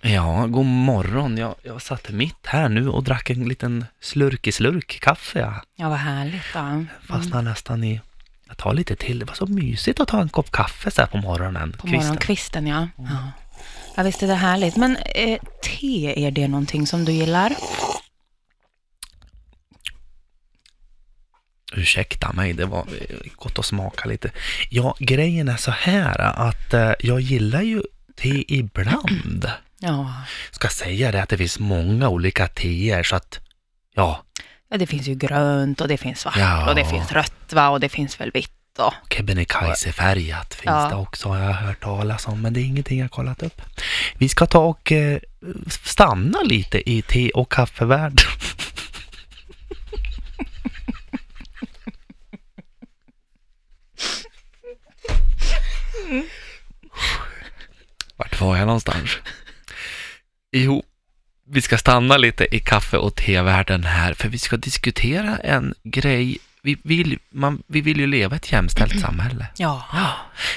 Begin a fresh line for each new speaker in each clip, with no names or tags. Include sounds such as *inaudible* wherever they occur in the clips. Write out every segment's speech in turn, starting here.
Ja, god morgon. Jag, jag satt mitt här nu och drack en liten slurk kaffe. Jag
Ja, vad härligt då.
fastnade nästan i... Jag tar lite till. Det var så mysigt att ta en kopp kaffe så här på morgonen.
På
Kvisten. Mm.
morgonkvisten, ja. ja. Ja, visst är det härligt. Men eh, te, är det någonting som du gillar?
Ursäkta mig, det var eh, gott att smaka lite. Ja, grejen är så här att eh, jag gillar ju te ibland.
Ja.
Ska säga det att det finns många olika teer så att, ja,
ja, det finns ju grönt och det finns svart
Ja.
och det finns rött va? och det finns väl vitt. Och...
Kebnekaise-färgat finns
Ja.
det också, har jag hört talas om, men det är ingenting jag kollat upp. Vi ska ta och eh, stanna lite i te och kaffevärlden. Vart var jag någonstans? Jo, vi ska stanna lite i kaffe och tevärlden här, för vi ska diskutera en grej. Vi vill, man, vi vill ju leva i ett jämställt samhälle.
Ja.
Ja,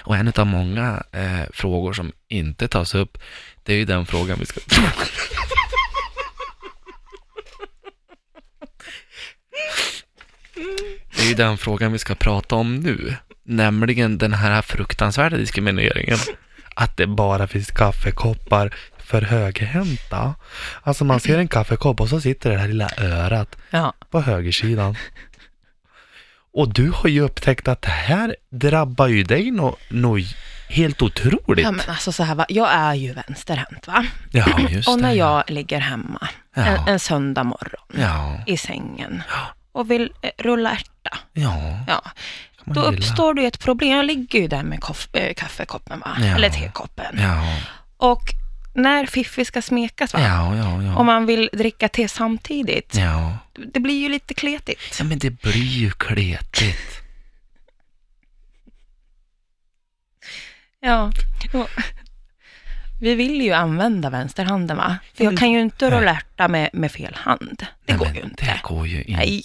och en av många eh, frågor som inte tas upp, det är ju den frågan vi ska... *laughs* det är ju den frågan vi ska prata om nu, nämligen den här fruktansvärda diskrimineringen. Att det bara finns kaffekoppar för högerhänta. Alltså man ser en kaffekopp och så sitter det här lilla örat
ja.
på högersidan. Och du har ju upptäckt att det här drabbar ju dig nog no, helt otroligt.
ja men alltså så här, va? jag är ju vänsterhänt va?
Ja, just
Och när
det.
jag ligger hemma en,
Ja.
en söndag morgon
Ja,
i sängen
Ja.
och vill eh, rulla ärta,
ja.
ja,
kan man
då
gilla.
uppstår det ju ett problem. Jag ligger ju där med koff- eh, kaffekoppen va?
Ja.
Eller tekoppen.
Ja,
Och när Fiffi ska smekas, va?
ja, ja.
om
Ja,
man vill dricka te samtidigt,
ja.
det blir ju lite kletigt.
ja men det blir ju kletigt.
Ja. Och Vi vill ju använda vänsterhanden, va? För jag kan ju inte
Mm. Nej.
rulla ärta med, med fel hand. Det
Nej,
går
men
ju inte.
Det går ju inte.
Nej,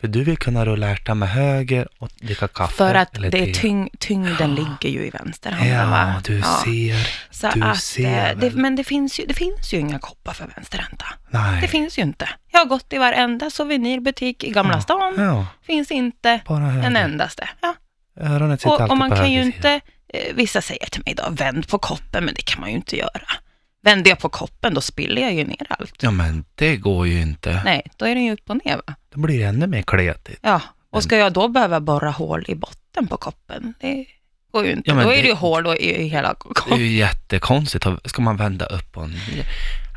För du vill kunna rulla ärta med höger och dricka kaffe
för att
eller
det är
te.
tyng, tyngden ligger ju i vänsterhanden,
Ja,
va?
du ser.
Så
du
att,
ser
eh, det,
väl.
men det finns, ju, det finns ju inga koppar för vänsterhänta.
Nej.
Det finns ju inte. Jag har gått i varenda souvenirbutik i Gamla stan.
Ja,
Finns inte
bara höger.
en endaste. Ja.
Öronet sitter
Och,
alltid
och man
på
kan ju
höger sida.
inte, eh, vissa säger till mig då, vänd på koppen, men det kan man ju inte göra. Vänder jag på koppen, då spiller jag ju ner allt.
Ja, men det går ju inte.
Nej, då är den ju upp och ner va?
Då blir det ännu mer kletigt.
Ja, och ska jag då behöva borra hål i botten på koppen? Det går ju inte.
Ja, men
då är
det-
det ju hål då i i hela
Det är
koppen.
ju jättekonstigt. Ska man vända upp och ner?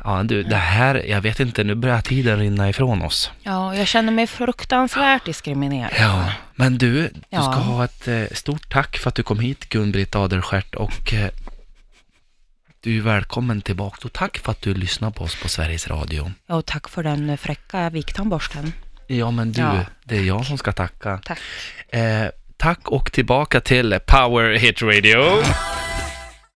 Ja, du, det här, jag vet inte, nu börjar tiden rinna ifrån oss.
Ja, jag känner mig fruktansvärt diskriminerad.
Ja, men du, du
Ja.
ska ha ett eh, stort tack för att du kom hit, Gun-Britt Adelstjärt, och eh, du är välkommen tillbaka. Och tack för att du lyssnar på oss på Sveriges Radio.
Ja, Och tack för den eh, fräcka viktandborsten.
Ja, men du,
Ja.
det är jag som ska tacka.
Tack.
Eh, tack och tillbaka till Power Hit Radio.